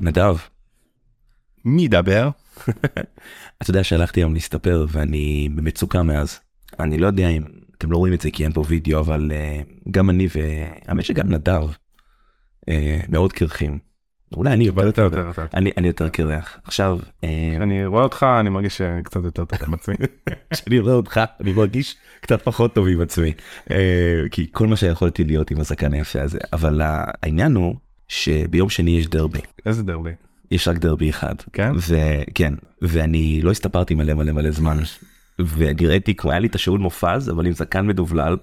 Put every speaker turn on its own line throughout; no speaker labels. נדב,
מי ידבר?
אתה יודע שהלכתי היום להסתפר ואני במצוקה מאז. אני לא יודע אם אתם לא רואים את זה כי אין פה וידאו, אבל אה, גם אני והאמת שגם נדב אה, מאוד קרחים. אולי אני
אבל
יותר
יותר יותר יותר.
אני, אני יותר קרח. עכשיו, אה,
אני רואה אותך, אני מרגיש שאני קצת יותר טוב עם עצמי.
כשאני רואה אותך, אני מרגיש קצת פחות טוב עם עצמי. אה, כי כל מה שיכולתי להיות עם הזקן היפה הזה. אבל העניין הוא שביום שני יש דרבי.
איזה דרבי.
יש רק דרבי אחד.
כן?
וכן, ואני לא הסתפרתי מלא מלא מלא זמן. ונראיתי כמו היה לי את השאול מופז אבל עם זקן מדובלל.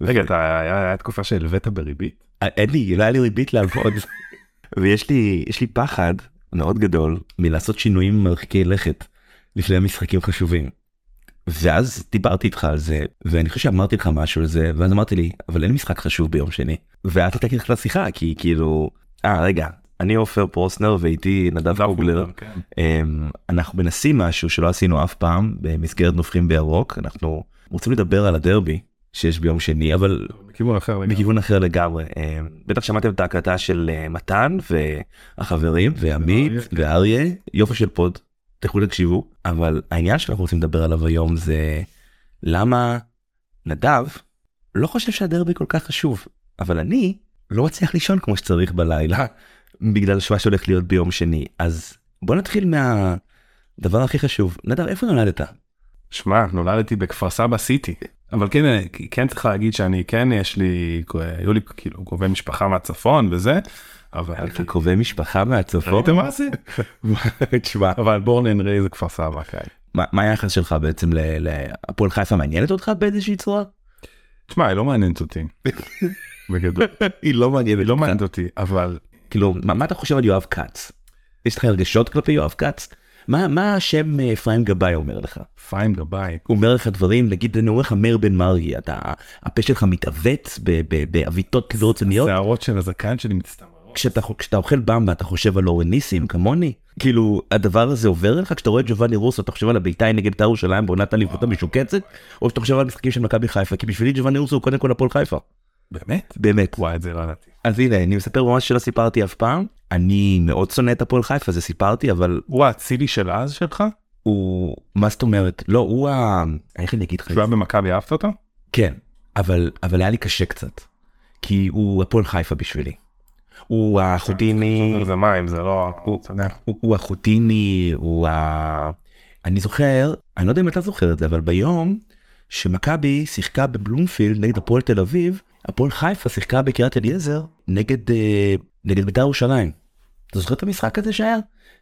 רגע, אתה, היה היה תקופה שהלווית בריבית?
אין לי לא היה לי ריבית לעבוד. ויש לי יש לי פחד מאוד גדול מלעשות שינויים מרחיקי לכת לפני משחקים חשובים. ואז דיברתי איתך על זה ואני חושב שאמרתי לך משהו על זה ואז אמרתי לי אבל אין לי משחק חשוב ביום שני. ואת הייתה ככה לשיחה כי כאילו אה רגע אני עופר פרוסנר ואיתי נדב קוגלר.
כן.
אמ, אנחנו מנסים משהו שלא עשינו אף פעם במסגרת נופרים בירוק אנחנו רוצים לדבר על הדרבי שיש ביום שני אבל
בכיוון אחר לגמרי.
מכיוון אחר לגמרי אמ, בטח שמעתם את ההקלטה של אה, מתן והחברים ועמית
ואריה.
ואריה יופי של פוד תלכו תקשיבו אבל העניין שאנחנו רוצים לדבר עליו היום זה למה נדב לא חושב שהדרבי כל כך חשוב אבל אני לא מצליח לישון כמו שצריך בלילה בגלל שמה שהולך להיות ביום שני אז בוא נתחיל מהדבר הכי חשוב נדב איפה נולדת
שמע, נולדתי בכפר סבא סיטי. אבל כן, כן צריך להגיד שאני כן, יש לי, היו לי כאילו קרובי משפחה מהצפון וזה, אבל...
אתה קרובי משפחה מהצפון
ראיתם מה זה?
תשמע
אבל בורלן ריי זה כפר סבא, כן.
מה מה היחס שלך בעצם ל- להפועל חיפה מעניינת אותך באיזושהי צורה?
תשמע, היא לא מעניינת אותי. בגדול.
היא לא מעניינת
היא לא מעניינת אותי, אבל
כאילו מה מה אתה חושב על יואב כץ? יש לך הרגשות כלפי יואב כץ? מה מה השם אה, אפרים גבאי אומר לך?
אפרים גבאי,
הוא אומר לך דברים נגיד אני אומר לך מאיר בן מרגי אתה הפה שלך מתעווץ ב- ב- בעוויתות כזה רציניות
שערות של הזקן שלי מצטמרות.
כשאתה, כשאתה אוכל במבה אתה חושב על אורן ניסים כמוני? כאילו הדבר הזה עובר לך כשאתה רואה את ג'ובאני רוסו אתה חושב על הבית"י נגד בית"ר ירושלים בעונת אליפות המשוקצת או שאתה חושב על משחקים של מכבי חיפה כי בשבילי ג'ובאני רוסו הוא קודם כל הפועל חיפה
באמת?
באמת.
וואי, את זה לא ידעתי.
אז הנה אני מספר ממש שלא סיפרתי אף פעם אני מאוד שונא את הפועל חיפה זה סיפרתי אבל
הוא האצילי של אז שלך?
הוא מה זאת אומרת לא הוא ה... איך אני אגיד לך את
שהוא
זה?
היה במכבי, אהבת אותו?
כן, אבל, אבל היה לי קשה קצת. כי הוא הפועל חיפה בשבילי. הוא החוטיני,
זה מים, זה לא...
הוא-
אתה יודע.
הוא, הוא החוטיני, הוא ה... אני זוכר, אני לא יודע אם אתה זוכר את זה, אבל ביום שמכבי שיחקה בבלומפילד נגד הפועל תל אביב, הפועל חיפה שיחקה בקריית אליעזר נגד, אה, נגד בית"ר ירושלים. אתה זוכר את המשחק הזה שהיה?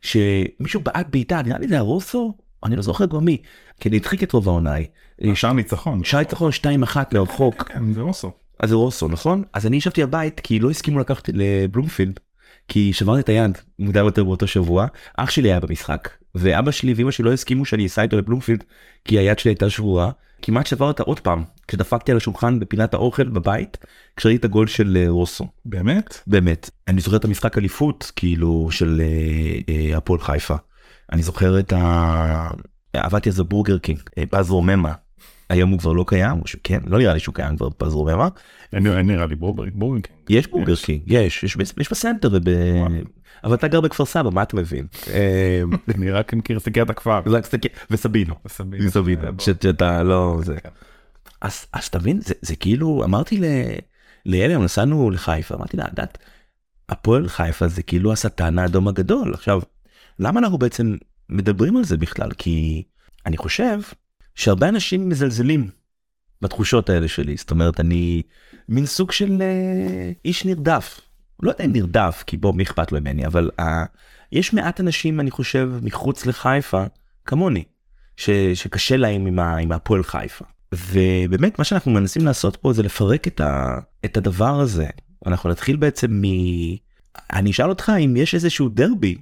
שמישהו בעט בעיטה, נראה לי זה היה רוסו? אני לא זוכר כבר מי, כי אני הדחיק את רוב העונאי.
שער ניצחון.
שי צחון 2-1 לרחוק.
כן, זה אוסו.
אז זה רוסו נכון אז אני ישבתי בבית כי לא הסכימו לקחת לבלומפילד כי שברתי את היד מוקדם יותר באותו שבוע אח שלי היה במשחק ואבא שלי ואמא שלי לא הסכימו שאני אסע איתו לבלומפילד כי היד שלי הייתה שבורה כמעט שבר אותה עוד פעם כשדפקתי על השולחן בפינת האוכל בבית כשראיתי את הגול של אה, רוסו
באמת?
באמת אני זוכר את המשחק אליפות כאילו של אה, אה, הפועל חיפה אני זוכר את ה... עבדתי אז בבורגר קינג אה, באז רוממה היום הוא כבר לא קיים או שהוא כן לא נראה לי שהוא קיים כבר באז רוממה
אין אין נראה לי בורברג.
יש בורגר קינג, יש, יש, בס- יש בסנטר, וב... אבל אתה גר בכפר סבא, מה אתה מבין? אה,
אני רק מכיר את סגיית הכפר.
זה רק סתכל- וסבינו,
סביב.
וסבינו, ש- שאתה לא... זה.
כן.
אז אז תבין, זה- זה כאילו, אמרתי ל- ליאלי, היום נסענו לחיפה, אמרתי לה, דת, הפועל חיפה זה כאילו השטן האדום הגדול. עכשיו, למה אנחנו בעצם מדברים על זה בכלל? כי אני חושב שהרבה אנשים מזלזלים בתחושות האלה שלי. זאת אומרת, אני מין סוג של אה, איש נרדף. לא יודע אם נרדף, כי בוא, מי אכפת לו ממני, אבל אה, יש מעט אנשים, אני חושב, מחוץ לחיפה, כמוני, ש, שקשה להם עם, ה, עם הפועל חיפה. ובאמת, מה שאנחנו מנסים לעשות פה זה לפרק את, ה, את הדבר הזה. אנחנו נתחיל בעצם מ... אני אשאל אותך אם יש איזשהו דרבי,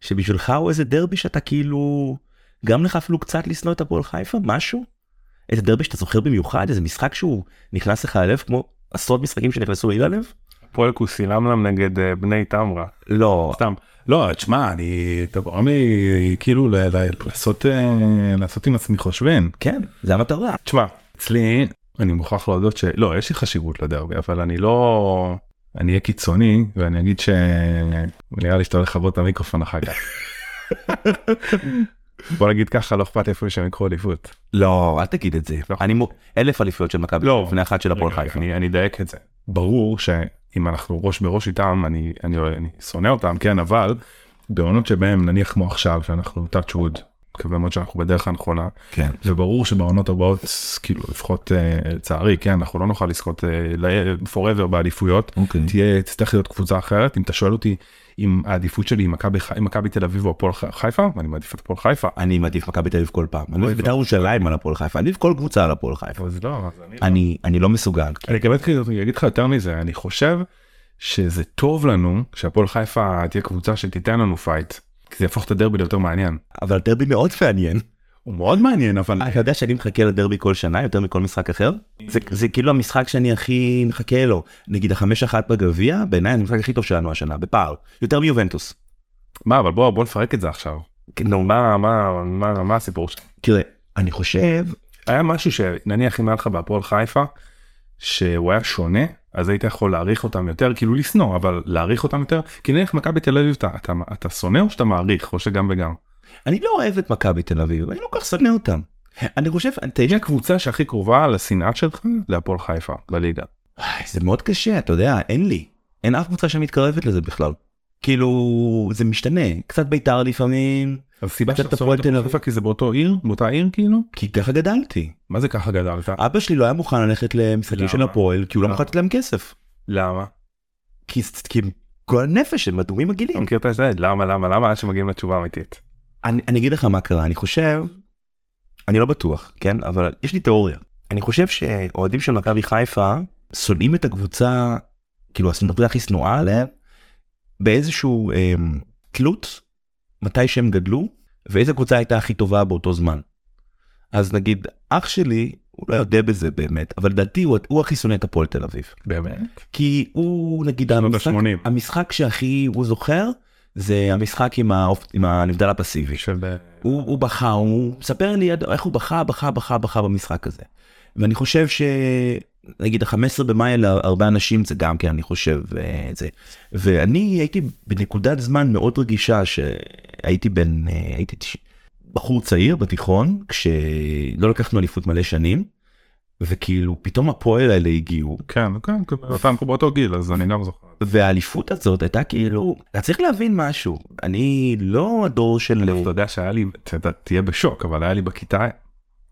שבשבילך הוא איזה דרבי שאתה כאילו, גם לך אפילו קצת לשנוא את הפועל חיפה, משהו? איזה דרבי שאתה זוכר במיוחד, איזה משחק שהוא נכנס לך ללב, כמו עשרות משחקים שנכנסו לי ללב?
הפועל קוסילמלם נגד אה, בני תמרה.
לא.
סתם. לא, תשמע, אני... אתה גורם לי כאילו ל- ל- לעשות אה, לעשות עם עצמי חושבים.
כן, זה המטרה.
תשמע, אצלי, אני מוכרח להודות שלא, יש לי חשיבות לדרבי, אבל אני לא... אני אהיה קיצוני ואני אגיד שנראה לי שאתה הולך לכבות את המיקרופון אחר כך. בוא נגיד ככה לא אכפת איפה שהם יקחו אליפות.
לא, אל תגיד את זה.
לא.
אני מו... אלף אליפויות של מכבי,
לא.
לפני אחת של הפועל חיפה.
אני אני אדייק את זה. ברור שאם אנחנו ראש בראש איתם אני אני אני שונא אותם כן אבל בעונות שבהם נניח כמו עכשיו שאנחנו touch wood. מקווה מאוד שאנחנו בדרך הנכונה
כן.
וברור שבעונות הבאות כאילו לפחות אה, לצערי כן אנחנו לא נוכל לזכות אה, ל- forever באליפויות
אוקיי.
תהיה תצטרך להיות קבוצה אחרת אם אתה שואל אותי אם העדיפות שלי היא מכבי חי- מכבי תל אביב או הפועל ח- חיפה אני מעדיף את הפועל חיפה.
אני מעדיף מכבי תל אביב כל פעם. אני מעדיף בית"ר ירושלים על הפועל חיפה. אני מעדיף כל קבוצה על הפועל חיפה.
אבל זה לא, אז אני
אני אני לא מסוגל.
אני גם אתחיל- אני אגיד לך יותר מזה אני חושב שזה טוב לנו שהפועל חיפה תהיה קבוצה שתיתן לנו פייט. כי זה יהפוך את הדרבי ליותר מעניין.
אבל דרבי מאוד מעניין.
הוא מאוד מעניין אבל
אתה יודע שאני מחכה לדרבי כל שנה יותר מכל משחק אחר? זה, זה כאילו המשחק שאני הכי מחכה לו. נגיד החמש אחת בגביע, בעיניי זה המשחק הכי טוב שלנו השנה, בפער. יותר מיובנטוס.
מה אבל בוא בוא נפרק את זה עכשיו.
נו, מה-
מה מה מה מה הסיפור שם?
תראה, אני חושב,
היה משהו שנניח אם היה לך בהפועל חיפה שהוא היה שונה אז היית יכול להעריך אותם יותר כאילו לשנוא אבל להעריך אותם יותר כי נניח מכבי תל אביב אתה, אתה אתה שונא או שאתה מעריך או שגם וגם.
אני לא אוהב את מכבי תל אביב, אני לא כל כך שונא אותם. אני חושב, אתה
היא הקבוצה שהכי קרובה לשנאה שלך להפועל חיפה בליגה.
איי, זה מאוד קשה, אתה יודע, אין לי. אין אף קבוצה שמתקרבת לזה בכלל. כאילו, זה משתנה. קצת בית"ר לפעמים,
אז סיבה
קצת
שאתה שונא
הפועל
את
תל
הפועל
אביב.
חיפה כי זה באותו עיר באותה עיר כאילו
כי ככה גדלתי.
מה זה ככה גדלת
אבא שלי לא היה מוכן ללכת למשחקים
למה?
של הפועל, כי הוא לא
למה?
מוכן לתת להם כסף.
למה
כי כי הם גועל נפש, הם אדומים
אתה
מגעילים.
מכיר את זה למה למה למה עד שמגיעים לתשובה אמיתית.
אני אני אגיד לך מה קרה, אני חושב, אני לא בטוח, כן? אבל יש לי תיאוריה. אני חושב שאוהדים של מכבי חיפה שונאים את הקבוצה, כאילו הסנדרטוריה הכי שנואה עליהם, באיזשהו אמ, תלות, מתי שהם גדלו, ואיזה קבוצה הייתה הכי טובה באותו זמן. אז נגיד, אח שלי, הוא לא יודע בזה באמת, אבל לדעתי הוא, הוא הכי שונא את הפועל תל אביב.
באמת?
כי הוא נגיד
שנות
המשחק,
ה-שמונים.
המשחק שהכי הוא זוכר זה המשחק עם, האופ... עם הנבדל הפסיבי.
של
הוא, הוא בכה, הוא מספר לי עד- איך הוא בכה, בכה, בכה, בכה במשחק הזה. ואני חושב שנגיד ה-15 במאי להרבה אנשים זה גם כן, אני חושב, אה, זה. ואני הייתי בנקודת זמן מאוד רגישה שהייתי בן, אה, הייתי תש- בחור צעיר בתיכון, כשלא לקחנו אליפות מלא שנים, וכאילו פתאום הפועל האלה הגיעו,
כן כן כן, אותם באותו גיל אז אני גם זוכר.
והאליפות הזאת הייתה כאילו אתה צריך להבין משהו אני לא הדור של
אתה יודע שהיה לי, אתה תהיה בשוק, אבל היה לי בכיתה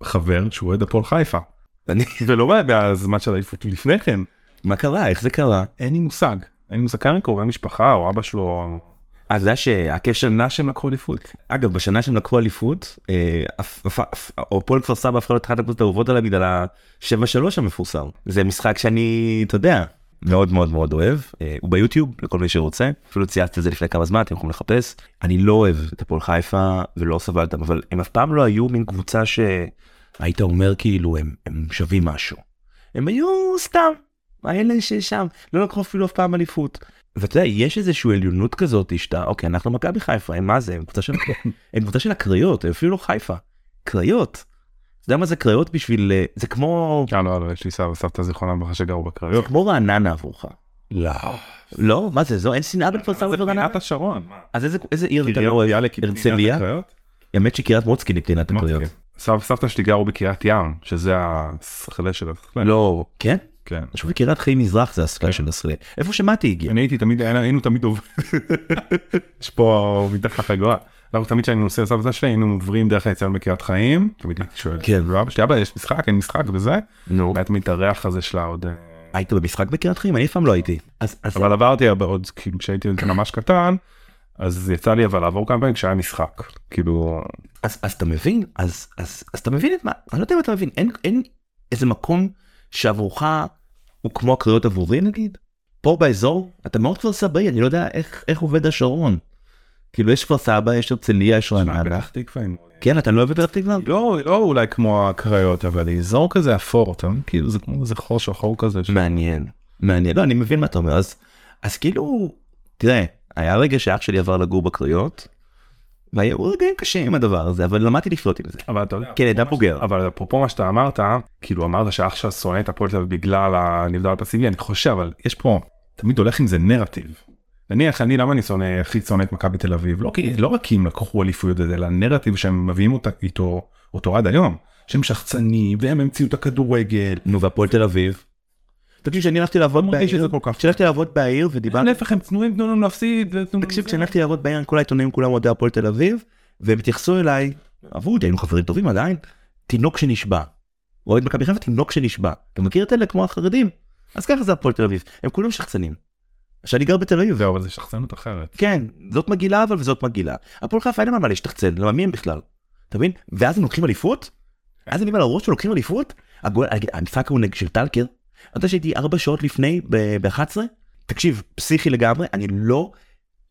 חבר שהוא אוהד הפועל חיפה.
אני-
ולא מה- מהזמן של העיפות לפני כן,
מה קרה איך זה קרה
אין לי מושג. אין לי מושג כמה קרובי משפחה או אבא שלו. או- אה,
אז זה שהקשר
שנה שהם לקחו אליפות.
אגב בשנה שהם לקחו אליפות אה, אף- אף- אף- הפועל כפר סבא הפכה להיות אחת הקבוצות האהובות עליי בגלל ה-7-3 המפורסם זה משחק שאני אתה יודע מאוד מאוד מאוד אוהב אה, הוא ביוטיוב לכל מי שרוצה אפילו צייצתי את זה לפני כמה זמן אתם יכולים לחפש אני לא אוהב את הפועל חיפה ולא סבל אותם אבל הם אף פעם לא היו מין קבוצה שהיית אומר כאילו הם, הם שווים משהו הם היו סתם האלה ששם לא לקחו אפילו אף פעם אליפות. ואתה יודע, יש איזושהי עליונות כזאת שאתה, אוקיי, אנחנו מכבי חיפה, הם מה זה, הם קבוצה של, הם קבוצה של הקריות, הם אפילו לא חיפה, קריות. אתה יודע מה זה קריות בשביל, אה, זה כמו,
אה לא, לא, יש לי סבא וסבתא זיכרונם ברכה שגרו
זה
בקריות.
כמו רעננה עבורך.
לא.
לא, מה זה, זו, אין שנאה בין כפר סבא
זה
ורעננה?
פינת השרון. מה?
אז איזה, איזה עיר אתה
קריית
לא אוהב?
ביאליק היא פינת
הרצליה?
הקריות?
האמת שקריית מוצקין היא פנינת הקריות.
אמרתי, סבא וסבתא שלי גרו בקריית ים, שזה השכלה של השכלה.
לא, כן?
כן.
אני חושב שקריית חיי מזרח זה הסקלה של הסרט. איפה שמתי הגיע.
אני הייתי תמיד היינו תמיד עוברים יש פה מתחת לחגורה. אנחנו תמיד כשהיינו נוסע לסבתא שלי היינו עוברים דרך היציאה בקריית חיים תמיד הייתי שואל
כן.
אבא שלי אבא יש משחק אין משחק וזה
נו.
היה תמיד את הריח הזה שלה עוד אה,
היית במשחק בקריית חיים? אני אף פעם לא הייתי. אז, אז,
אבל עברתי הרבה עוד כאילו כשהייתי עוד ממש קטן אז יצא לי אבל לעבור כמה פעמים כשהיה משחק כאילו
אז, אז אתה מבין? אז, אז, אז אתה מבין את מה? אני לא יודע אם אתה מבין, אין, אין איזה מקום שעבורך הוא כמו הקריאות עבורי נגיד? פה באזור, אתה מאוד כפר סבאי, אני לא יודע איך, איך עובד השרון. כאילו יש כפר סבא, יש הרצליה, יש רעננה.
פתח תקווה עם-
כן, אתה לא אוהב את פתח תקווה?
לא לא אולי כמו הקריות אבל היא אזור כזה אפור אתה מבין? כאילו זה כמו איזה חור שחור כזה ש-
מעניין. מעניין, לא, אני מבין מה אתה אומר, אז, אז כאילו, תראה, היה רגע שאח שלי עבר לגור בקריות, והיו רגעים קשים עם הדבר הזה, אבל למדתי לחיות עם זה.
אבל אתה יודע
כן, עדה בוגר.
אבל אפרופו מה שאתה אמרת כאילו אמרת שאח שלך שונא את הפועל תל אביב בגלל הנבדל הפסיבי אני חושב אבל יש פה תמיד הולך עם זה נרטיב. נניח אני למה אני שונא הכי שונא את מכבי תל אביב לא כי לא רק כי הם לקחו אליפויות וזה, אלא הנרטיב שהם מביאים אותה איתו אותו עד היום שהם שחצנים והם המציאו את הכדורגל.
נו והפועל תל אביב. תקשיב שאני הלכתי לעבוד
לא מרגיש
בעיר,
שזה כל כך.
כשהלכתי לעבוד בעיר ודיברתי,
להפך הם צנועים תנו לנו להפסיד. ותנו לנו
תקשיב
זה.
כשהלכתי לעבוד בעיר כל העיתונאים כולם אוהדי הפועל תל אביב והם התייחסו אליי, עברו אותי היינו חברים טובים עדיין, תינוק שנשבע. אוהד מכבי חיפה תינוק שנשבע. אתה מכיר את אלה כמו החרדים? אז ככה זה הפועל תל אביב, הם כולם שחצנים. שאני גר בתל אביב.
זהו אבל זה שחצנות אחרת.
כן, זאת מגעילה אבל וזאת מגעילה. הפועל חיפה אין להם על מה להשתחצן, למה מי הם בכלל? אתה מבין? ואז הם לוקחים אליפות? אז הם באים על הראש ולוקחים אליפות? הגול, נגיד, המשחק ההוא נגד- של טלקר, אתה יודע שהייתי ארבע שעות לפני ב-11? תקשיב, פסיכי לגמרי, אני לא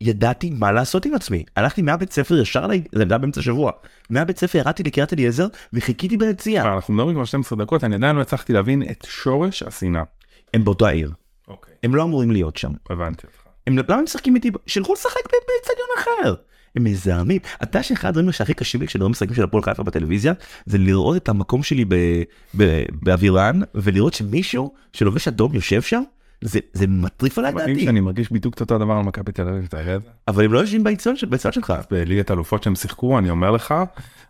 ידעתי מה לעשות עם עצמי. הלכתי מהבית ספר ישר, ל- זה היה באמצע השבוע, מהבית ספר ירדתי לקריית אליעזר וחיכיתי ביציאה.
אבל אנחנו מדברים כבר 12 דקות אני עדיין לא הצלחתי להבין את שורש השנאה.
הם באותה עיר,
אוקיי.
הם לא אמורים להיות שם.
הבנתי אותך.
הם למה הם משחקים איתי? שילכו לשחק ב- באצטדיון אחר. הם מזהמים. אתה שאחד הדברים שהכי קשים לי כשאני רואה משחקים של הפועל חיפה בטלוויזיה זה לראות את המקום שלי ב- ב- באווירן ולראות שמישהו שלובש אדום יושב שם זה זה מטריף עליי
מדהים
דעתי
שאני מרגיש בדיוק את אותו הדבר על מכבי תל אביב. אתה יודע את זה?
אבל הם לא יושבים ביצון של ביצון שלך.
בליגת אלופות שהם שיחקו אני אומר לך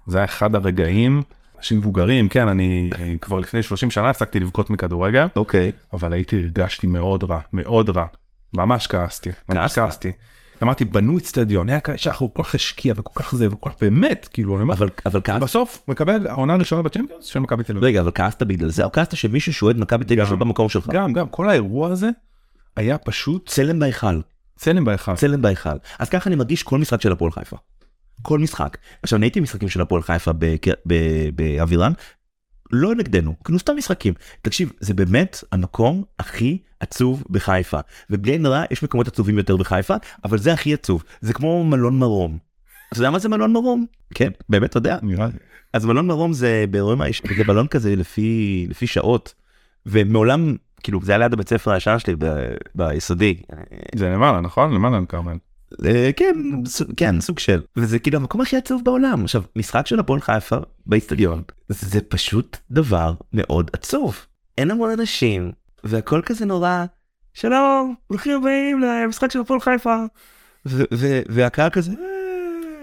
זה היה אחד הרגעים אנשים מבוגרים כן אני אני כבר לפני 30 שנה הפסקתי לבכות מכדורגל
אוקיי.
אבל הייתי הרגשתי מאוד רע מאוד רע ממש כעסתי ממש
כעסת?
כעסתי. אמרתי בנו אצטדיון היה כאלה שאנחנו כל כך השקיע וכל כך זה וכל כך באמת כאילו אני אומר
אבל אבל כעסת
בסוף מקבל העונה הראשונה בצ'מפיונס של מכבי תל אביב.
רגע אבל כעסת בגלל זה או כעסת שמישהו שאוהד מכבי תל אביב יושב במקום שלך.
גם גם כל האירוע הזה היה פשוט
צלם בהיכל.
צלם בהיכל.
צלם בהיכל. אז ככה אני מרגיש כל משחק של הפועל חיפה. כל משחק. עכשיו אני הייתי במשחקים של הפועל חיפה בק- ב- באבירן, לא נגדנו, כאילו סתם משחקים. תקשיב, זה באמת המקום הכי עצוב בחיפה. ובלי עין רע יש מקומות עצובים יותר בחיפה, אבל זה הכי עצוב. זה כמו מלון מרום. אתה יודע מה זה מלון מרום? כן, באמת אתה יודע.
נראה לי.
אז מלון מרום זה באירועים האיש, זה בלון כזה לפי לפי שעות. ומעולם, כאילו זה היה ליד הבית ספר הישן שלי ב- ביסודי,
זה למעלה נכון למעלה אין כרמל.
אה, כן, ס- כן, סוג של. וזה כאילו המקום הכי עצוב בעולם. עכשיו, משחק של הפועל חיפה באיצטדיון, זה פשוט דבר מאוד עצוב. אין המון אנשים, והכל כזה נורא, שלום, ברוכים הבאים למשחק של הפועל חיפה. ו- ו- והקהל כזה, "אה".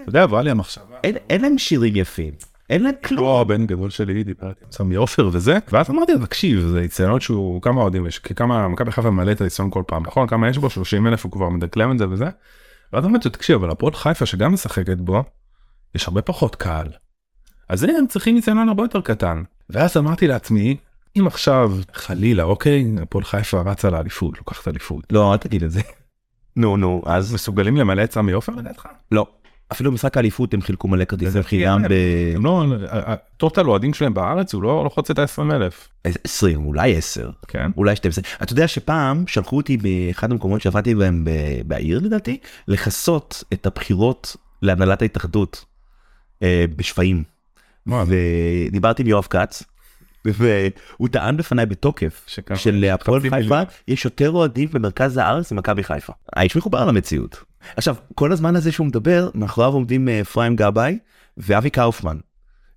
אתה יודע עברה לי המחשבה.
אין- אין להם שירים יפים, אין להם כלום.
לא הבן גדול שלי דיברתי עם סמי עופר וזה ואז אמרתי לו תקשיב זה הצטיינות שהוא כמה אוהדים יש כי כמה מכבי חיפה מלא את הניסיון כל פעם נכון כמה יש בו 30 אלף הוא כבר מדקלם את זה וזה. ואז אמרתי לו תקשיב אבל הפועל חיפה שגם משחקת בו יש הרבה פחות קהל. אז הם צריכים ניסיון הרבה יותר קטן ואז אמרתי לעצמי אם עכשיו חלילה אוקיי הפועל חיפה רצה לאליפות לוקחת אליפות
לא, אל תגיד את זה. נו, נו, אז?
מסוגלים למלא את סמי עופר לדעתך?
לא. אפילו במשחק האליפות הם חילקו מלא כרטיסי
לדעתי
חינם
אין
ב...
הם לא הטוטל אוהדים שלהם בארץ הוא לא לא חוצה את ה-20 אלף.
20, אולי 10.
כן.
אולי 12. אתה יודע שפעם שלחו אותי באחד המקומות שעבדתי בהם ב- בעיר לדעתי, לכסות את הבחירות להנהלת ההתאחדות אה, בשפיים.
וואו.
ודיברתי עם יואב כץ, והוא טען בפניי בתוקף
שככה,
שלהפועל
חצי
חיפה
מיליון.
יש יותר אוהדים במרכז הארץ ממכבי חיפה. האיש מחובר למציאות. עכשיו, כל הזמן הזה שהוא מדבר, מאחוריו עומדים אה, אפרים גבאי ואבי קאופמן.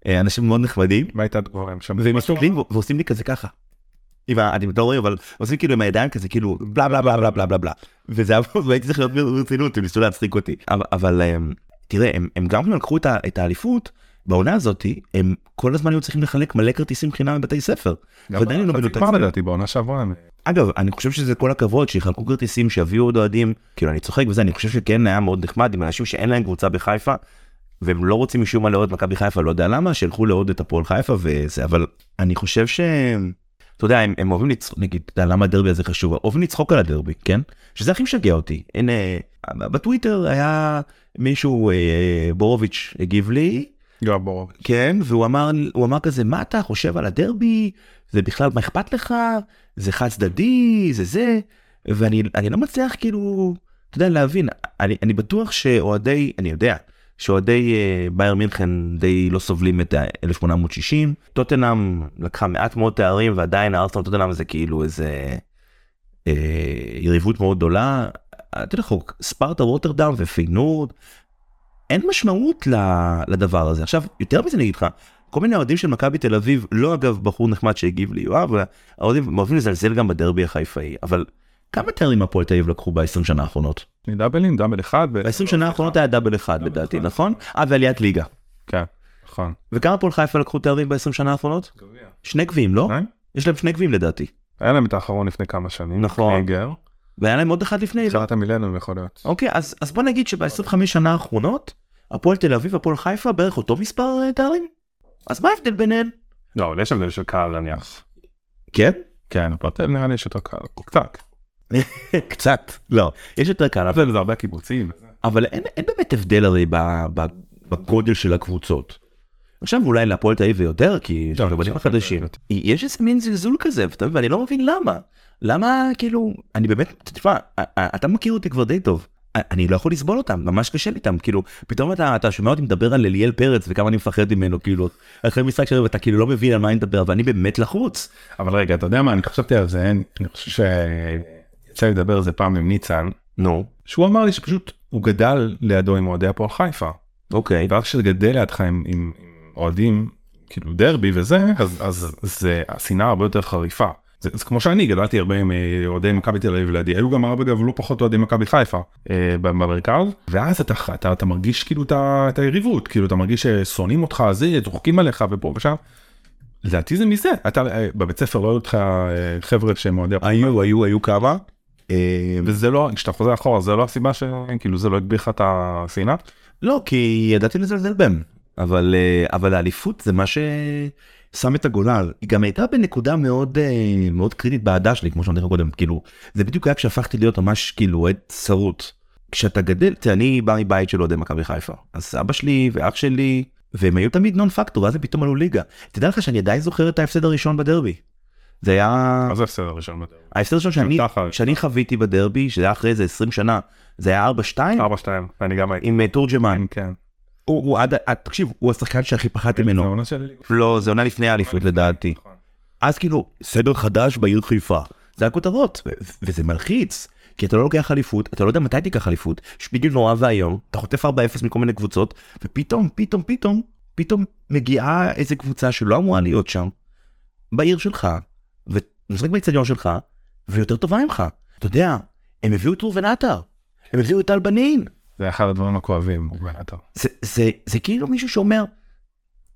אה, אנשים מאוד נחמדים.
מה הייתה התגובה הם שם?
והם מסתכלים ו- ועושים לי כזה ככה. עם ה... אתם לא רואים אבל עושים כאילו עם הידיים כזה כאילו בלה בלה בלה בלה בלה בלה בלה. וזה היה והייתי צריך להיות ברצינות הם ניסו להצחיק אותי אבל, אבל אמ, תראה הם, הם גם כשהם לקחו את, ה- את האליפות בעונה הזאתי הם כל הזמן היו צריכים לחלק מלא כרטיסים חינם בבתי ספר.
גם
ועדיין הם לא
בחצי
מנותצים.
גמר לדעתי בעונה שעברה הם
אגב אני חושב שזה כל הכבוד שיחלקו כרטיסים שיביאו עוד אוהדים כאילו אני צוחק וזה אני חושב שכן היה מאוד נחמד עם אנשים שאין להם קבוצה בחיפה. והם לא רוצים משום מה לאוהד מכבי חיפה לא יודע למה שילכו לאוהד את הפועל חיפה וזה אבל אני חושב שהם אתה יודע הם, הם אוהבים לצחוק נגיד אתה יודע למה הדרבי הזה חשוב אוהבים לצחוק על הדרבי כן שזה הכי משגע אותי הנה בטוויטר היה מישהו אה, בורוביץ' הגיב לי
יואב בורוביץ'.
כן, והוא אמר, הוא אמר כזה, מה אתה חושב על הדרבי? זה בכלל, מה אכפת לך? זה חד צדדי, זה זה. ואני אני לא מצליח כאילו, אתה יודע, להבין. אני, אני בטוח שאוהדי, אני יודע, שאוהדי אה, בייר מינכן די לא סובלים את ה-1860. טוטנאם לקחה מעט מאוד תארים ועדיין הארסנל טוטנאם זה כאילו איזה אה, יריבות מאוד גדולה. אתה יודע, חוק, ספרטה רוטרדם ופיינורד, אין משמעות ל- לדבר הזה. עכשיו, יותר מזה אני אגיד לך, כל מיני אוהדים של מכבי תל אביב, לא אגב בחור נחמד שהגיב לי, יואב, האוהדים אוהבים לזלזל גם בדרבי החיפאי, אבל כמה תארים הפועל תל אביב לקחו ב-20 שנה האחרונות?
מדאבלים, דאבל אחד. ו-
ב-20 שנה האחרונות היה דאבל אחד לדעתי, נכון? אה, ועליית ליגה.
כן, נכון.
וכמה הפועל חיפה לקחו תארים ב-20 שנה האחרונות? שני גביעים, לא?
שניים?
יש להם שני גביעים לדעתי.
היה להם את האחרון לפני כמה שנים.
נכון.
קליגר.
והיה להם עוד אחד לפני.
שירת המילניום יכול להיות.
אוקיי, אז, אז בוא נגיד שב-25 שנה האחרונות, הפועל תל אביב, הפועל חיפה, בערך אותו מספר אה, תארים? אז מה ההבדל ביניהם?
לא, אבל יש הבדל של קהל נניח.
כן?
כן, הפרטל נראה לי יש יותר קהל. קצת.
קצת. לא. יש יותר קל, אבל,
אבל זה הרבה קיבוצים.
אבל אין, אין באמת הבדל הרי ב, ב, בגודל של הקבוצות. עכשיו אולי להפועל תל אביב יותר, כי יש
לא,
לנו בנים
עכשיו-
החדשים. יש איזה מין זלזול כזה, ואתה מבין, ואני לא מבין למה. למה, כאילו, אני באמת, תשמע, אתה מכיר אותי כבר די טוב. אני לא יכול לסבול אותם, ממש קשה לי איתם, כאילו, פתאום אתה, אתה שומע אותי מדבר על אליאל פרץ וכמה אני מפחד ממנו, כאילו, אחרי משחק שלו ואתה כאילו לא מבין על מה אני מדבר, ואני באמת לחוץ.
אבל רגע, אתה יודע מה, אני חשבתי על זה, אני חושב שיצא לי לדבר על זה פעם עם ניצן,
נו,
שהוא אמר לי שפשוט הוא גדל לידו עם אוהדי הפועל חיפה.
אוקיי.
ואז כשאתה גדל לידך עם, עם, עם אוהדים, כאילו דרבי וזה, אז, אז זה השנאה הרבה יותר חריפה. זה, זה כמו שאני גדלתי הרבה עם אה, אוהדי מכבי תל אביב לידי, היו גם הרבה אגב לא פחות אוהדי מכבי חיפה אה, ב- במרכז, ואז אתה, אתה, אתה מרגיש כאילו את ה- את היריבות, כאילו אתה מרגיש ששונאים אותך, זה, צוחקים עליך ופה ושם. לדעתי זה מזה, אתה אה, בבית ספר לא היו אותך אה, חבר'ה שהם אוהדי,
היו, היו, היו כמה? אה,
וזה לא, כשאתה חוזר אחורה זה לא הסיבה שכאילו זה לא הגביר לך את השנאה.
לא, כי ידעתי לזלזל בהם. אבל, אה, אבל האליפות זה מה ששם את הגולל. היא גם הייתה בנקודה מאוד, אה, מאוד קריטית בעדה שלי, כמו שאמרתי לך קודם. כאילו, זה בדיוק היה כשהפכתי להיות ממש כאילו אוהד שרוט. כשאתה גדל, תראה, אני בא מבית של אוהדי מכבי חיפה. אז אבא שלי ואח שלי, והם היו תמיד נון פקטור, ואז הם פתאום עלו ליגה. תדע לך שאני עדיין זוכר את ההפסד הראשון בדרבי. זה היה...
אז זה הפסד הראשון בדרבי.
ההפסד הראשון שאני,
ככה.
שאני חוויתי בדרבי, שזה היה אחרי איזה 20 שנה, זה היה 4-2
4-2, אני גם הייתי.
עם אה, תורג'מן.
כן.
הוא, הוא עד, עד, תקשיב, הוא השחקן שהכי פחדתי
זה
ממנו.
עונה של- נכון.
לא, זה עונה לפני האליפות לדעתי. אז כאילו, סדר חדש בעיר חיפה. זה הכותרות, ו- ו- וזה מלחיץ. כי אתה לא לוקח אליפות, אתה לא יודע מתי תיקח אליפות, שפיגל נורא ואיום, אתה חוטף 4-0 מכל מיני קבוצות, ופתאום, פתאום, פתאום, פתאום מגיעה איזה קבוצה שלא אמורה להיות שם, בעיר שלך, ומשחק באצטדיון שלך, ויותר טובה ממך. אתה יודע, הם הביאו את ראובן עטר, הם הביאו את טל בנין,
זה אחד הדברים הכואבים, אולי אתה.
זה, זה, זה כאילו מישהו שאומר,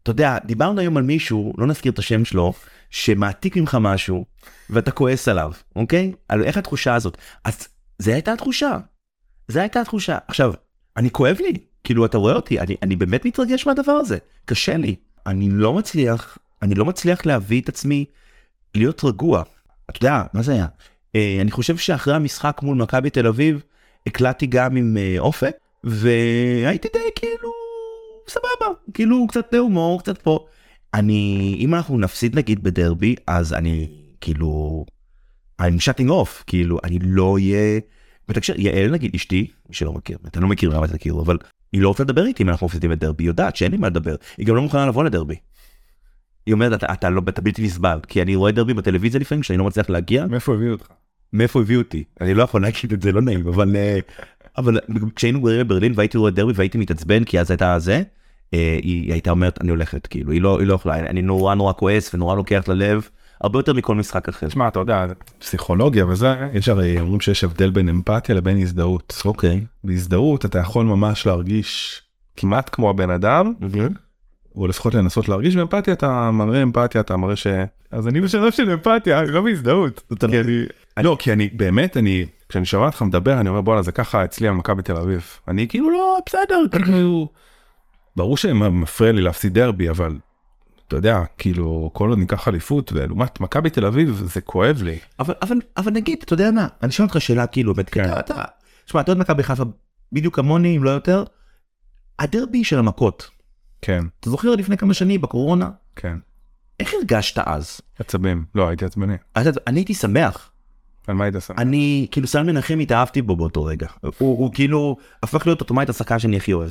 אתה יודע, דיברנו היום על מישהו, לא נזכיר את השם שלו, שמעתיק ממך משהו, ואתה כועס עליו, אוקיי? על איך התחושה הזאת. אז זו הייתה התחושה. זו הייתה התחושה. עכשיו, אני כואב לי, כאילו, אתה רואה אותי, אני, אני באמת מתרגש מהדבר הזה, קשה לי. אני לא מצליח, אני לא מצליח להביא את עצמי להיות רגוע. אתה יודע, מה זה היה? אה, אני חושב שאחרי המשחק מול מכבי תל אביב, הקלטתי גם עם אה, אופק, והייתי די כאילו סבבה, כאילו קצת הומור, קצת פה. אני, אם אנחנו נפסיד נגיד בדרבי, אז אני כאילו, I'm shutting off, כאילו, אני לא אהיה... ותקשר, יעל נגיד, אשתי, מי שלא מכיר, אתה לא מכיר למה אתה כאילו, אבל היא לא רוצה לדבר איתי אם אנחנו מפסידים בדרבי, היא יודעת שאין לי מה לדבר, היא גם לא מוכנה לבוא לדרבי. היא אומרת, אתה, אתה לא, אתה בלתי נסבל, כי אני רואה דרבי בטלוויזיה לפעמים כשאני לא מצליח להגיע,
מאיפה הביאו אותך?
מאיפה הביאו אותי אני לא יכול להגיד את זה לא נעים אבל אה, אבל כשהיינו גרים בברלין והייתי רואה דרבי והייתי מתעצבן כי אז הייתה זה. אה, היא הייתה אומרת אני הולכת כאילו היא לא היא לא יכולה אני נורא נורא כועס ונורא לוקח ללב הרבה יותר מכל משחק אחר.
תשמע, אתה יודע, פסיכולוגיה וזה, יש הרי אומרים שיש הבדל בין אמפתיה לבין הזדהות.
אוקיי.
בהזדהות אתה יכול ממש להרגיש כמעט כמו הבן אדם, או לפחות לנסות להרגיש באמפתיה, אתה מראה אמפתיה, אתה מראה ש... אז אני בשלב של אמפתיה, אני לא בהזדהות. כי אני... לא, כי אני באמת, אני... כשאני שומע אותך מדבר, אני אומר בואנה זה ככה אצלי על מכבי תל אביב. אני כאילו לא, בסדר, כאילו... ברור שמפריע לי להפסיד דרבי, אבל... אתה יודע, כאילו, כל עוד ניקח אליפות, ולעומת מכבי תל אביב, זה כואב לי.
אבל אבל אבל נגיד אתה יודע מה אני שואל אותך שאלה כאילו באמת
כן.
אתה- אתה שמע אתה עוד מכבי חיפה בדיוק כמוני אם לא יותר. הדרבי של המכות
כן,
אתה זוכר לפני כמה שנים בקורונה
כן.
איך הרגשת אז?
עצבים. לא, הייתי עצבני.
אתה- אני הייתי שמח
על מה היית שם?
אני כאילו סל מנחם התאהבתי בו באותו רגע הוא, הוא כאילו הפך להיות אוטומט השחקן שאני הכי אוהב.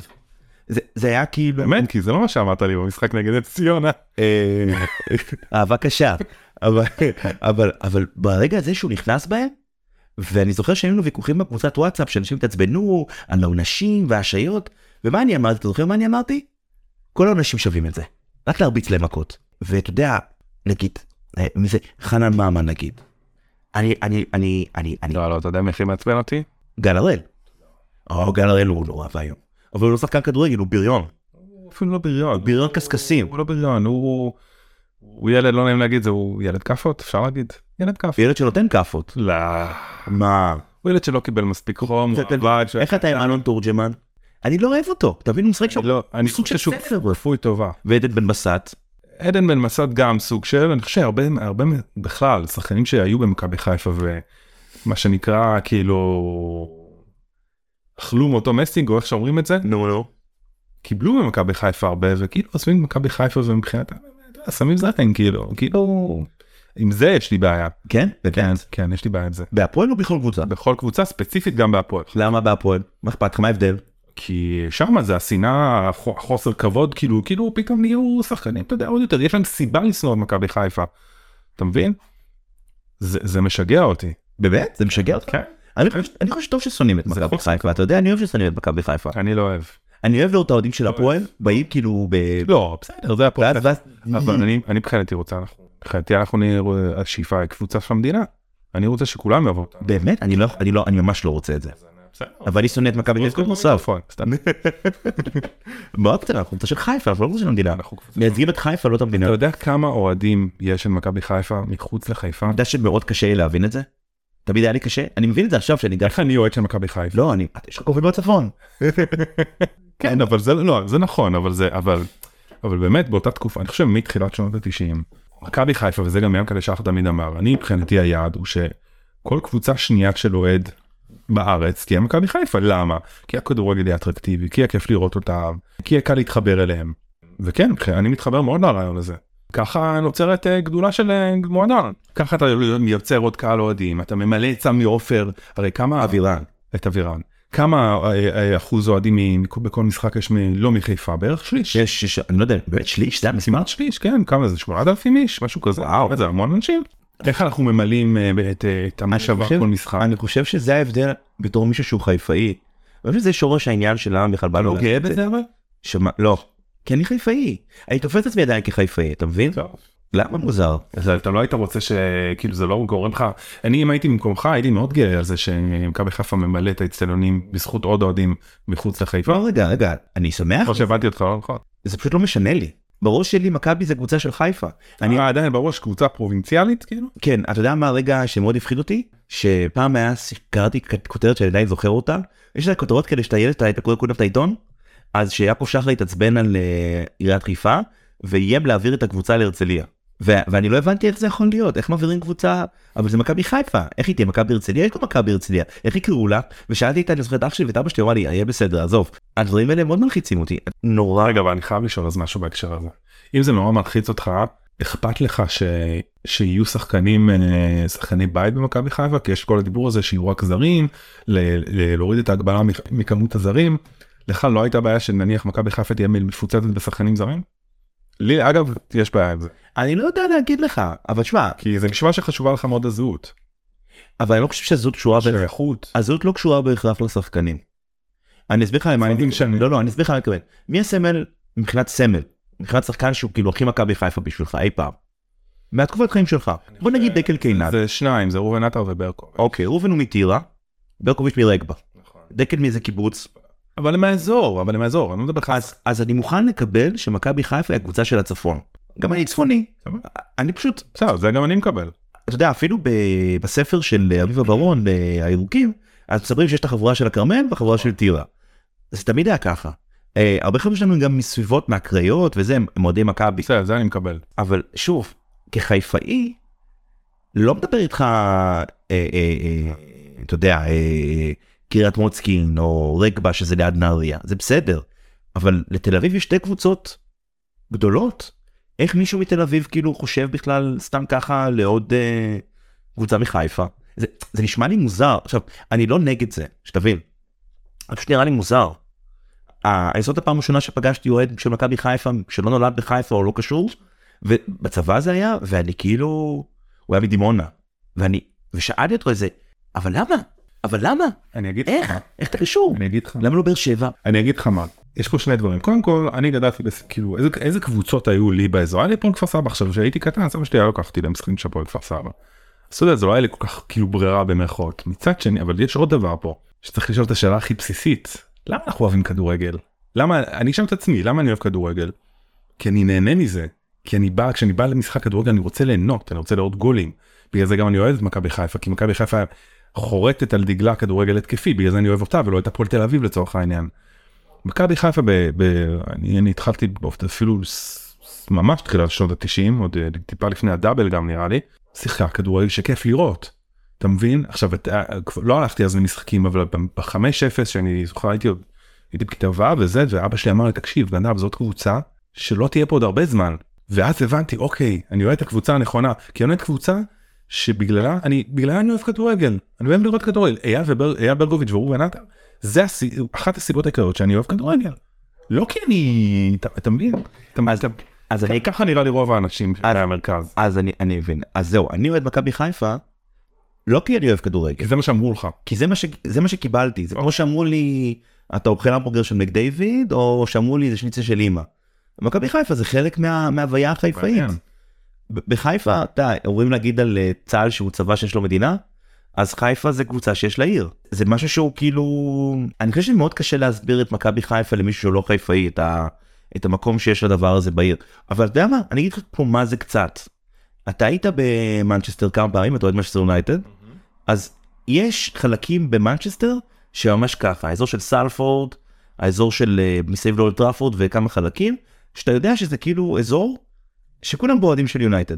זה, זה היה כאילו
באמת, כי זה לא מה שאמרת לי במשחק נגד את ציונה.
אה, אהבה קשה אבל אבל אבל ברגע הזה שהוא נכנס בהם. ואני זוכר שהיו לנו ויכוחים בקבוצת וואטסאפ שאנשים התעצבנו על העונשים והשעיות ומה אני אמרתי אתה זוכר מה אני אמרתי? כל העונשים שווים את זה רק להרביץ להם מכות ואתה יודע נגיד אה, מי זה חנן ממן נגיד אני, אני, אני, אני, אני,
לא, לא, אתה יודע מי הכי מעצבן אותי?
גל הראל. או, גל הראל הוא נורא ואיום. אבל הוא לא שחקן כדורגל, הוא בריון.
הוא אפילו לא בריון.
בריון קשקשים.
הוא לא בריון, הוא... הוא ילד, לא נעים להגיד, זה הוא ילד כאפות, אפשר להגיד? ילד כאפות.
ילד שנותן כאפות.
לא.
מה?
הוא ילד שלא קיבל מספיק חום, הוא
אתה-
עבד. ש-
איך אתה עם אלון תורג'מן? אני לא אוהב אותו. תבין, הוא משחק שם.
לא, אני
סוג
סוג
של
של
ספר.
רפואי טובה.
ועדן בן בסט.
עדן בן מסד גם סוג של, אני חושב שהרבה, הרבה מ- בכלל, שחקנים שהיו במכבי חיפה ומה שנקרא, כאילו, אכלו מאותו מסינג, או איך שאומרים את זה,
נו, נו.
קיבלו ממכבי חיפה הרבה, וכאילו עוזבים את מכבי חיפה ומבחינת, שמים זרטן, כאילו, כאילו, עם זה יש לי בעיה.
כן?
כן,
וכן.
כן, יש לי בעיה עם זה.
בהפועל או בכל קבוצה?
בכל קבוצה, ספציפית גם בהפועל.
למה בהפועל? מה אכפת לך? מה ההבדל?
כי שם זה השנאה, הח- החוסר כבוד, כאילו, כאילו פתאום נהיו שחקנים, אתה יודע, עוד יותר, יש להם סיבה לשנוא את מכבי חיפה. אתה מבין? זה, זה משגע אותי.
באמת? זה משגע אותך?
כן.
אני חושב- אני חושב שטוב ששונאים את
זה נכון.
מכבי
חוסר
חיפה. אתה יודע, אני אוהב ששונאים את מכבי חיפה.
אני לא אוהב.
אני אוהב לראות את האוהדים של הפועל, באים כאילו ב...
לא, בסדר, זה הפועל.
ואז ואז...
אבל אני, אני מבחינתי רוצה, אנחנו, מבחינתי אנחנו נהיה, השאיפה היא קבוצה של המדינה. אני רוצה שכולם יבואו אותנו.
באמת? אני לא יכול, אני לא, אני ממש לא רוצה את זה.
בסדר.
אבל אני שונא את מכבי חיפה נוסף.
נכון, סתם.
מה אופציה? אנחנו קבוצה של חיפה, אנחנו לא קבוצה של המדינה.
אנחנו קבוצה.
מייצגים את חיפה, לא את המדינה.
אתה
אתה
יודע כמה אוהדים יש של מכבי חיפה מחוץ לחיפה?
יודע שמאוד קשה לי להבין את זה? תמיד היה לי קשה? אני מבין את זה עכשיו שאני גם...
איך אני אוהד של מכבי חיפה?
לא, אני... אתה- יש לך קרובים בצפון.
כן אבל זה לא זה נכון אבל זה אבל אבל באמת באותה תקופה אני חושב מתחילת שנות התשעים מכבי חיפה וזה גם ינקלה שחר תמיד אמר אני מבחינתי היעד הוא שכל קבוצה שנייה של אוהד בארץ תהיה מכבי חיפה למה כי הכדורגל יהיה אטרקטיבי כי היה כיף לראות אותם כי יהיה קל להתחבר אליהם וכן מבח- אני מתחבר מאוד לרעיון הזה. ככה נוצרת אה, גדולה של אה, מועדון ככה אתה יוצר עוד קהל אוהדים אתה ממלא את סמי עופר הרי כמה
אבירן.
את אבירן. כמה אה, אה, אחוז אוהדים מ- מכ- בכל משחק יש מ- לא מחיפה? בערך שליש.
שיש, שיש- אני לא יודע, באמת שליש? זה המשימה?
כמעט שליש, כן, כמה זה? 8,000 איש? משהו כזה. וואו. זה המון אנשים. איך אנחנו ממלאים אה, את, אה, את המושבה
חושב-
כל משחק?
אני חושב שזה ההבדל בתור מישהו שהוא חיפאי. אני חושב שזה שורש העניין של למה בכלל בא
אתה
לו.
לא גאה בזה אבל?
שמה- לא. כי אני חיפאי. אני תופס את עצמי עדיין כחיפאי, אתה מבין? למה מוזר?
אז אתה לא היית רוצה שכאילו זה לא גורם לך אני אם הייתי במקומך הייתי מאוד גאה על זה שמכבי חיפה ממלא את האצטדיונים בזכות עוד אוהדים מחוץ לחיפה.
לא, רגע, רגע, אני שמח,
כמו שהבנתי אותך לא נכון.
זה פשוט לא משנה לי. בראש שלי מכבי זה קבוצה של חיפה. אני,
אני עדיין בראש קבוצה פרובינציאלית כאילו.
כן, אתה יודע מה הרגע שמאוד הפחיד אותי? שפעם היה, קראתי כ- כותרת שאני עדיין זוכר אותה, יש לה כותרות כאלה שאתה ילד, אתה היית קורא כולם את העיתון, אז שיעקב שחר התעצבן על אה, עיריית חיפה, ואיים להעביר את הקבוצה להרצליה. ו- ואני לא הבנתי איך זה יכול להיות, איך מעבירים קבוצה, אבל זה מכבי חיפה, איך היא תהיה מכבי הרצליה? יש לה מכבי הרצליה, איך יקראו לה? ושאלתי את, אני זוכר את אח שלי ואת אבא שלי, הוא אמר לי, "אה, יהיה בסדר, עזוב. הדברים האלה מאוד מלחיצים אותי, נורא
רגע, אבל אני חייב לשאול אז משהו בהקשר הזה. אם זה נורא מלחיץ אותך, אכפת לך ש... שיהיו שחקנים, אה, שחקני בית במכבי חיפה? כי יש כל הדיבור הזה שיהיו רק זרים, ל... ל... להוריד את ההגבלה מכ... מכמות הזרים. לך לא הייתה בעיה שנניח מכבי חיפה תהיה מפוצצת בשחקנים זרים? לי אגב יש בעיה עם זה,
אני לא יודע להגיד לך, אבל שמע,
כי זה נשמע שחשובה לך מאוד הזהות.
אבל אני לא חושב שהזהות קשורה, ב...
שייכות.
הזהות לא קשורה בהכרח לשחקנים. אני אסביר לך למה אני
זה
מתכוון.
משנה.
לא, לא, אני אסביר לך למה אני מתכוון. מי הסמל מבחינת סמל? מבחינת שחקן שהוא כאילו הכי מכבי חיפה בשבילך אי פעם. מהתקופת חיים שלך. בוא נגיד דקל קינן.
זה שניים, זה ראובן עטר וברקו.
אוקיי, ראובן הוא מטירה, ברקוביץ' מרגבה. דקל מאיזה קיבוץ.
אבל הם מהאזור, אבל הם מהאזור, אני לא מדבר לך.
אז, אז אני מוכן לקבל שמכבי חיפה היא הקבוצה של הצפון. גם אני צפוני.
סבבה.
אני פשוט,
בסדר, זה גם אני מקבל.
אתה יודע, אפילו ב, בספר של אביבה ברון, אה, הירוקים, אז מספרים שיש את החבורה של הכרמל והחבורה של טירה. זה תמיד היה ככה. אה, הרבה חברים שלנו הם גם מסביבות, מהקריות וזה, הם הם אוהדי מכבי.
בסדר, זה אני מקבל.
אבל שוב, כחיפאי, לא מדבר איתך, אה, אה, אה, אתה יודע, אה, קריית מוצקין או רגבה שזה ליד נהריה, זה בסדר. אבל לתל אביב יש שתי קבוצות גדולות. איך מישהו מתל אביב כאילו חושב בכלל סתם ככה לעוד אה, קבוצה מחיפה? זה, זה נשמע לי מוזר. עכשיו, אני לא נגד זה, שתבין. זה פשוט נראה לי מוזר. אה, זאת הפעם הראשונה שפגשתי אוהד של מכבי חיפה שלא נולד בחיפה או לא קשור, ובצבא זה היה, ואני כאילו, הוא היה מדימונה. ואני, ושאלתי אותו איזה, אבל למה? אבל למה?
אני אגיד
איך? איך אתה קשור?
אני אגיד לך.
למה לא באר שבע?
אני אגיד לך מה, יש פה שני דברים. קודם כל, אני גדלתי, בס... כאילו, איזה, איזה קבוצות היו לי באזור? היה לי הפועל כפר סבא עכשיו, כשהייתי קטן, סבא שלי היה לוקח אותי למשחקים של הפועל כפר סבא. אז אתה יודע, זה לא היה לי כל כך כאילו ברירה במרכאות. מצד שני, אבל יש עוד דבר פה, שצריך לשאול את השאלה הכי בסיסית, למה אנחנו אוהבים כדורגל? למה, אני אשאל את עצמי, למה אני אוהב כדורגל? כי אני נהנה מזה. כי אני בא, כשאני בא למשחק כדורגל אני רוצה ליהנות, אני רוצה לראות גולים. בגלל זה גם אני אוהב את מכבי חיפה, כי מכבי חיפה חורטת על דגלה כדורגל התקפי, בגלל זה אני אוהב אותה ולא את הפועל תל אביב לצורך העניין. מכבי חיפה, ב, ב, אני, אני התחלתי באופן- אפילו ס- ס- ממש תחילת שנות התשעים, עוד אה, טיפה לפני הדאבל גם נראה לי, שיחקה כדורגל שכיף לראות. אתה מבין? עכשיו, את, אה, כבר- לא הלכתי אז למשחקים, אבל ב-5-0 שאני זוכר הייתי עוד, הייתי בכיתה ו' וזה, ואבא שלי אמר לי, תקשיב, גנב, זאת קבוצה שלא תהיה פה עוד הרבה זמן. ואז הבנתי, אוקיי, אני אוהד את הקבוצה הנכונה, כי אני אוהד קבוצה שבגללה אני בגללה אני אוהב כדורגל אני אוהב לראות כדורגל אייל, ובר, אייל ברקוביץ' ואורי נתן זה הסי, אחת הסיבות העיקריות שאני אוהב כדורגל. לא כי אני אתה, אתה מבין אתה,
אז-
אתה,
אז אני
ככה נראה לי רוב האנשים
אז-
מהמרכז
אז אני אני מבין אז זהו אני אוהד מכבי חיפה. לא כי אני אוהב כדורגל
כי זה מה שאמרו לך
כי זה מה ש- זה מה שקיבלתי זה כמו שאמרו לי אתה אוכל המבורגר של מק דיוויד או שאמרו לי זה שניצל של אימא. מכבי חיפה זה חלק מה- מההוויה החיפאית.
מעניין.
ב- בחיפה אתה אומרים להגיד על אה, צה"ל שהוא צבא שיש לו מדינה אז חיפה זה קבוצה שיש לה עיר זה משהו שהוא כאילו אני חושב שמאוד קשה להסביר את מכבי חיפה למישהו שהוא לא חיפאי את, ה... את המקום שיש לדבר הזה בעיר אבל אתה יודע מה אני אגיד לך פה מה זה קצת. אתה היית במנצ'סטר כמה פעמים אתה אוהד מנצ'סטר יונייטד אז יש חלקים במנצ'סטר שממש ככה האזור של סלפורד האזור של אה, מסביב לאולד טראפורד וכמה חלקים שאתה יודע שזה כאילו אזור שכולם בו אוהדים של יונייטד.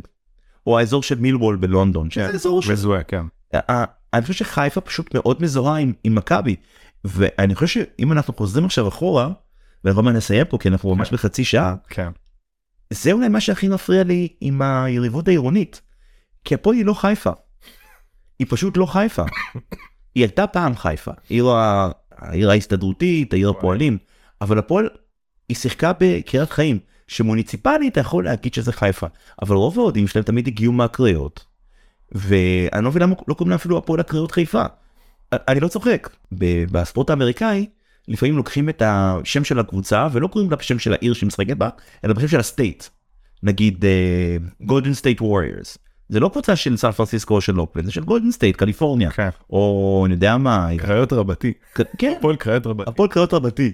או האזור של מילוול בלונדון שזה
כן.
אזור של
מזוהה כן.
ה- אני חושב שחיפה פשוט מאוד מזוהה עם, עם מכבי ואני חושב שאם אנחנו חוזרים עכשיו אחורה ואנחנו גם נסיים פה כי אנחנו ממש בחצי שעה
כן.
זה אולי מה שהכי מפריע לי עם היריבות העירונית. כי הפועל היא לא חיפה. היא פשוט לא חיפה. היא הייתה פעם חיפה. עיר ה- העיר ההסתדרותית, העיר הפועלים, אבל הפועל היא שיחקה בקריית חיים, שמוניציפלית אתה יכול להגיד שזה חיפה, אבל רוב האוהדים שלהם תמיד הגיעו מהקריות. ואני לא מבין למה לא קוראים לה אפילו הפועל הקריות חיפה. אני לא צוחק. ב- בספורט האמריקאי, לפעמים לוקחים את השם של הקבוצה ולא קוראים לה בשם של העיר שמשחקת בה, אלא בשם של הסטייט. נגיד אה, גולדן סטייט ווריירס. זה לא קבוצה של סן פרנסיסקו או של אופלנד, זה של גולדן סטייט, קליפורניה.
כן.
או אני יודע מה,
קריות רבתי.
ק- כן,
הפועל קריות רבתי.
הפועל קריות רבתי.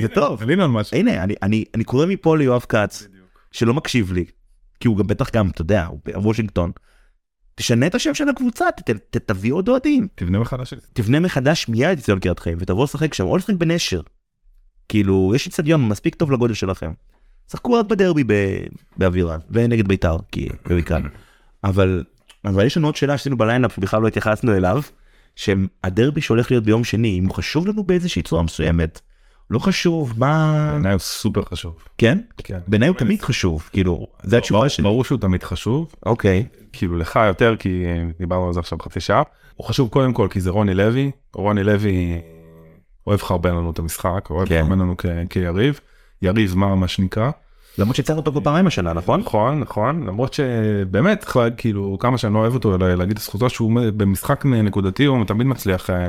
זה טוב.
עלינו על משהו.
הנה, אני, אני, אני קורא מפה ליואב כץ, שלא מקשיב לי, כי הוא גם בטח גם, אתה יודע, הוא בוושינגטון. תשנה את השם של הקבוצה, ת, ת, תביא עוד אוהדים.
תבנה מחדש. את זה.
תבנה מחדש מיד את אצטדיון קריית חיים ותבוא לשחק שם או לשחק בנשר. כאילו יש אצטדיון מספיק טוב לגודל שלכם. שחקו רק בדרבי ב- באווירה ונגד בית"ר כי במקרה. אבל אבל יש לנו עוד שאלה שעשינו בליינאפ שבכלל לא התייחסנו אליו. שהדרבי שהולך להיות ביום שני אם הוא חשוב לנו באיזושהי צורה מסוימת. לא חשוב מה
בעיניי הוא סופר חשוב.
כן
כן.
בעיניי הוא תמיד חשוב כאילו זה התשובה שלי.
ברור שהוא תמיד חשוב.
אוקיי.
כאילו לך יותר כי אה, דיברנו על זה עכשיו חצי שעה. הוא חשוב קודם כל כי זה רוני לוי, רוני לוי אוהב לחרבן לנו את המשחק, אוהב
כן.
לחרבן לנו כ- כיריב, יריב מה מה שנקרא.
למרות שהצלנו אותו כבר פעמיים השנה נכון?
נכון נכון למרות שבאמת צריך להגיד כאילו כמה שאני לא אוהב אותו אלא להגיד לזכותו שהוא מ- במשחק נקודתי הוא תמיד מצליח אה,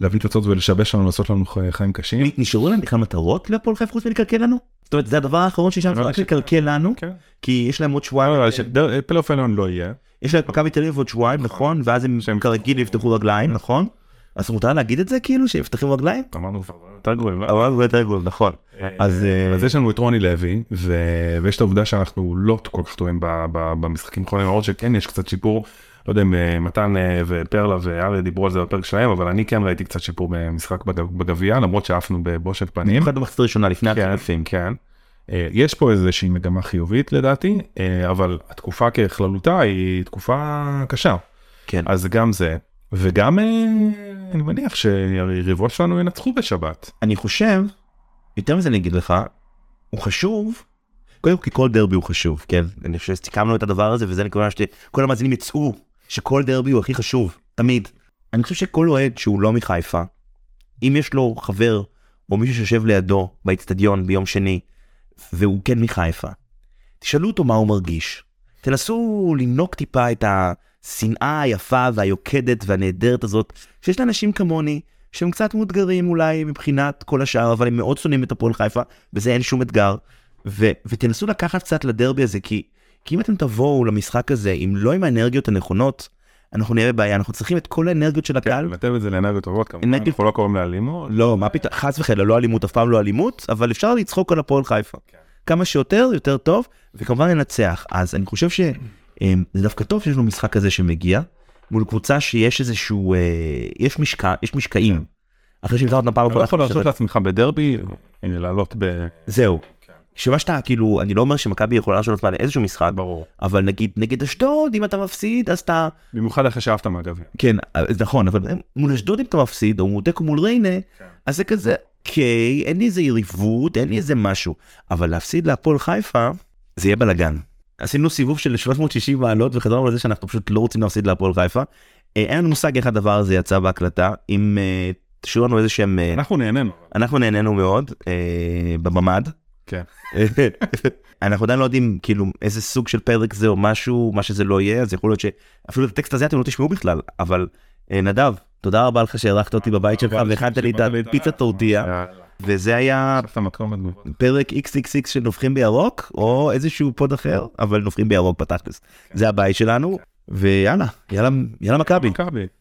להביא תוצאות ולשבש לנו לעשות לנו ח- חיים קשים.
נשארו להם בכלל מטרות להפועל חיפה חוץ מלקלקל לנו? זאת אומרת זה הדבר האחרון שיש להם
נראה לי
רק
ש-
לקלקל לנו.
כן.
כי יש להם עוד שבועיים,
אבל אה, לא, ש- דר- פלייאוף עליון לא יהיה.
יש להם את מכבי תל אביב עוד שבועיים, נכון? ואז הם
שהם-
כרגיל יפתחו רגליים, נכון? אז מותר להגיד את זה כאילו שהם יפתחו רגליים?
אמרנו כבר יותר גרועים. לא?
אבל זה יותר גול, נכון. אז אה,
אז יש לנו את רוני לוי ו... ויש את העובדה שאנחנו לא כל כך טועים ב... ב... במשחקים האחרונים למרות שכן יש קצת שיפור. לא יודע אם אה, מתן אה, ופרלה ואריה דיברו על זה בפרק שלהם אבל אני כן ראיתי קצת שיפור במשחק בג- בגביע למרות שעפנו בבושת פנים.
במיוחד במחצית הראשונה לפני
כן,
הצלפים.
כן. אה, יש פה איזושהי מגמה חיובית לדעתי אה, אבל התקופה ככללותה היא תקופה קשה
כן.
אז גם זה וגם אה, אני מניח שהיריבות שלנו ינצחו בשבת.
אני חושב, יותר מזה אני אגיד לך, הוא חשוב, קודם כל כי כל דרבי הוא חשוב, כן? אני חושב שסיכמנו את הדבר הזה וזה נקודה שכל המאזינים יצאו, שכל דרבי הוא הכי חשוב, תמיד. אני חושב שכל אוהד שהוא לא מחיפה, אם יש לו חבר או מישהו שיושב לידו באצטדיון ביום שני, והוא כן מחיפה, תשאלו אותו מה הוא מרגיש. תנסו לנוק טיפה את השנאה היפה והיוקדת והנהדרת הזאת שיש לאנשים כמוני שהם קצת מאותגרים אולי מבחינת כל השאר אבל הם מאוד שונאים את הפועל חיפה בזה אין שום אתגר ו- ותנסו לקחת קצת לדרבי הזה כי כי אם אתם תבואו למשחק הזה, אם לא עם האנרגיות הנכונות, אנחנו נהיה בבעיה, אנחנו צריכים את כל האנרגיות של הקהל.
נתב כן, את זה לאנרגיות טובות כמובן,
אנרגיות-
אנחנו לא קוראים לאלימות.
לא, מה פתאום, חס וחלילה, לא אלימות, אף פעם לא אלימות, אבל אפשר לצחוק על הפועל חיפה.
כן.
כמה שיותר, יותר טוב, וכמובן לנצח. אז אני חושב שזה דווקא טוב שיש לנו משחק כזה שמגיע, מול קבוצה שיש איזשהו, אה, יש משקע, יש משקעים. אחרי שהמזרח אותם פעם
אתה לא יכול
אחת,
להרשות לעצמך בדרבי, הנה, לעלות ב...
זהו.
כן.
שמה שאתה, כאילו, אני לא אומר שמכבי יכולה להרשות לעצמה לאיזשהו משחק,
ברור.
אבל נגיד נגד אשדוד, אם אתה מפסיד, אז אתה...
במיוחד אחרי שאהבת מהגביע.
כן, אז נכון, אבל מול אשדוד אם אתה מפסיד, או מול תיקו מול ריינה, אז זה כזה, אוקיי, אין לי איזה יריבות, אין לי איזה משהו. אבל להפסיד להפועל חיפה, זה יהיה בלאגן. עשינו סיבוב של 360 מעלות וחזרנו לזה שאנחנו פשוט לא רוצים להפסיד להפועל חיפה. אה, אין לנו מושג איך הדבר הזה יצא בהקלטה, אם אה, תשאירו לנו איזה שהם... אה,
אנחנו נהנינו.
אנחנו נהנינו מאוד אה, בממ"ד.
כן.
אנחנו עדיין לא יודעים כאילו איזה סוג של פרק זה או משהו, מה שזה לא יהיה, אז יכול להיות שאפילו את הטקסט הזה אתם לא תשמעו בכלל, אבל אה, נדב, תודה רבה לך שאירחת אותי בבית שלך והכנת לי את הפיצה
כן.
טורטיה,
יאללה,
וזה היה
אספת אה, מקום בתגובות.
פרק XXX של נובחים בירוק, או איזשהו פוד אחר, אבל נובחים בירוק בתכלס. זה הבית שלנו, ויאללה, יאללה, יאללה מכבי.
מכבי.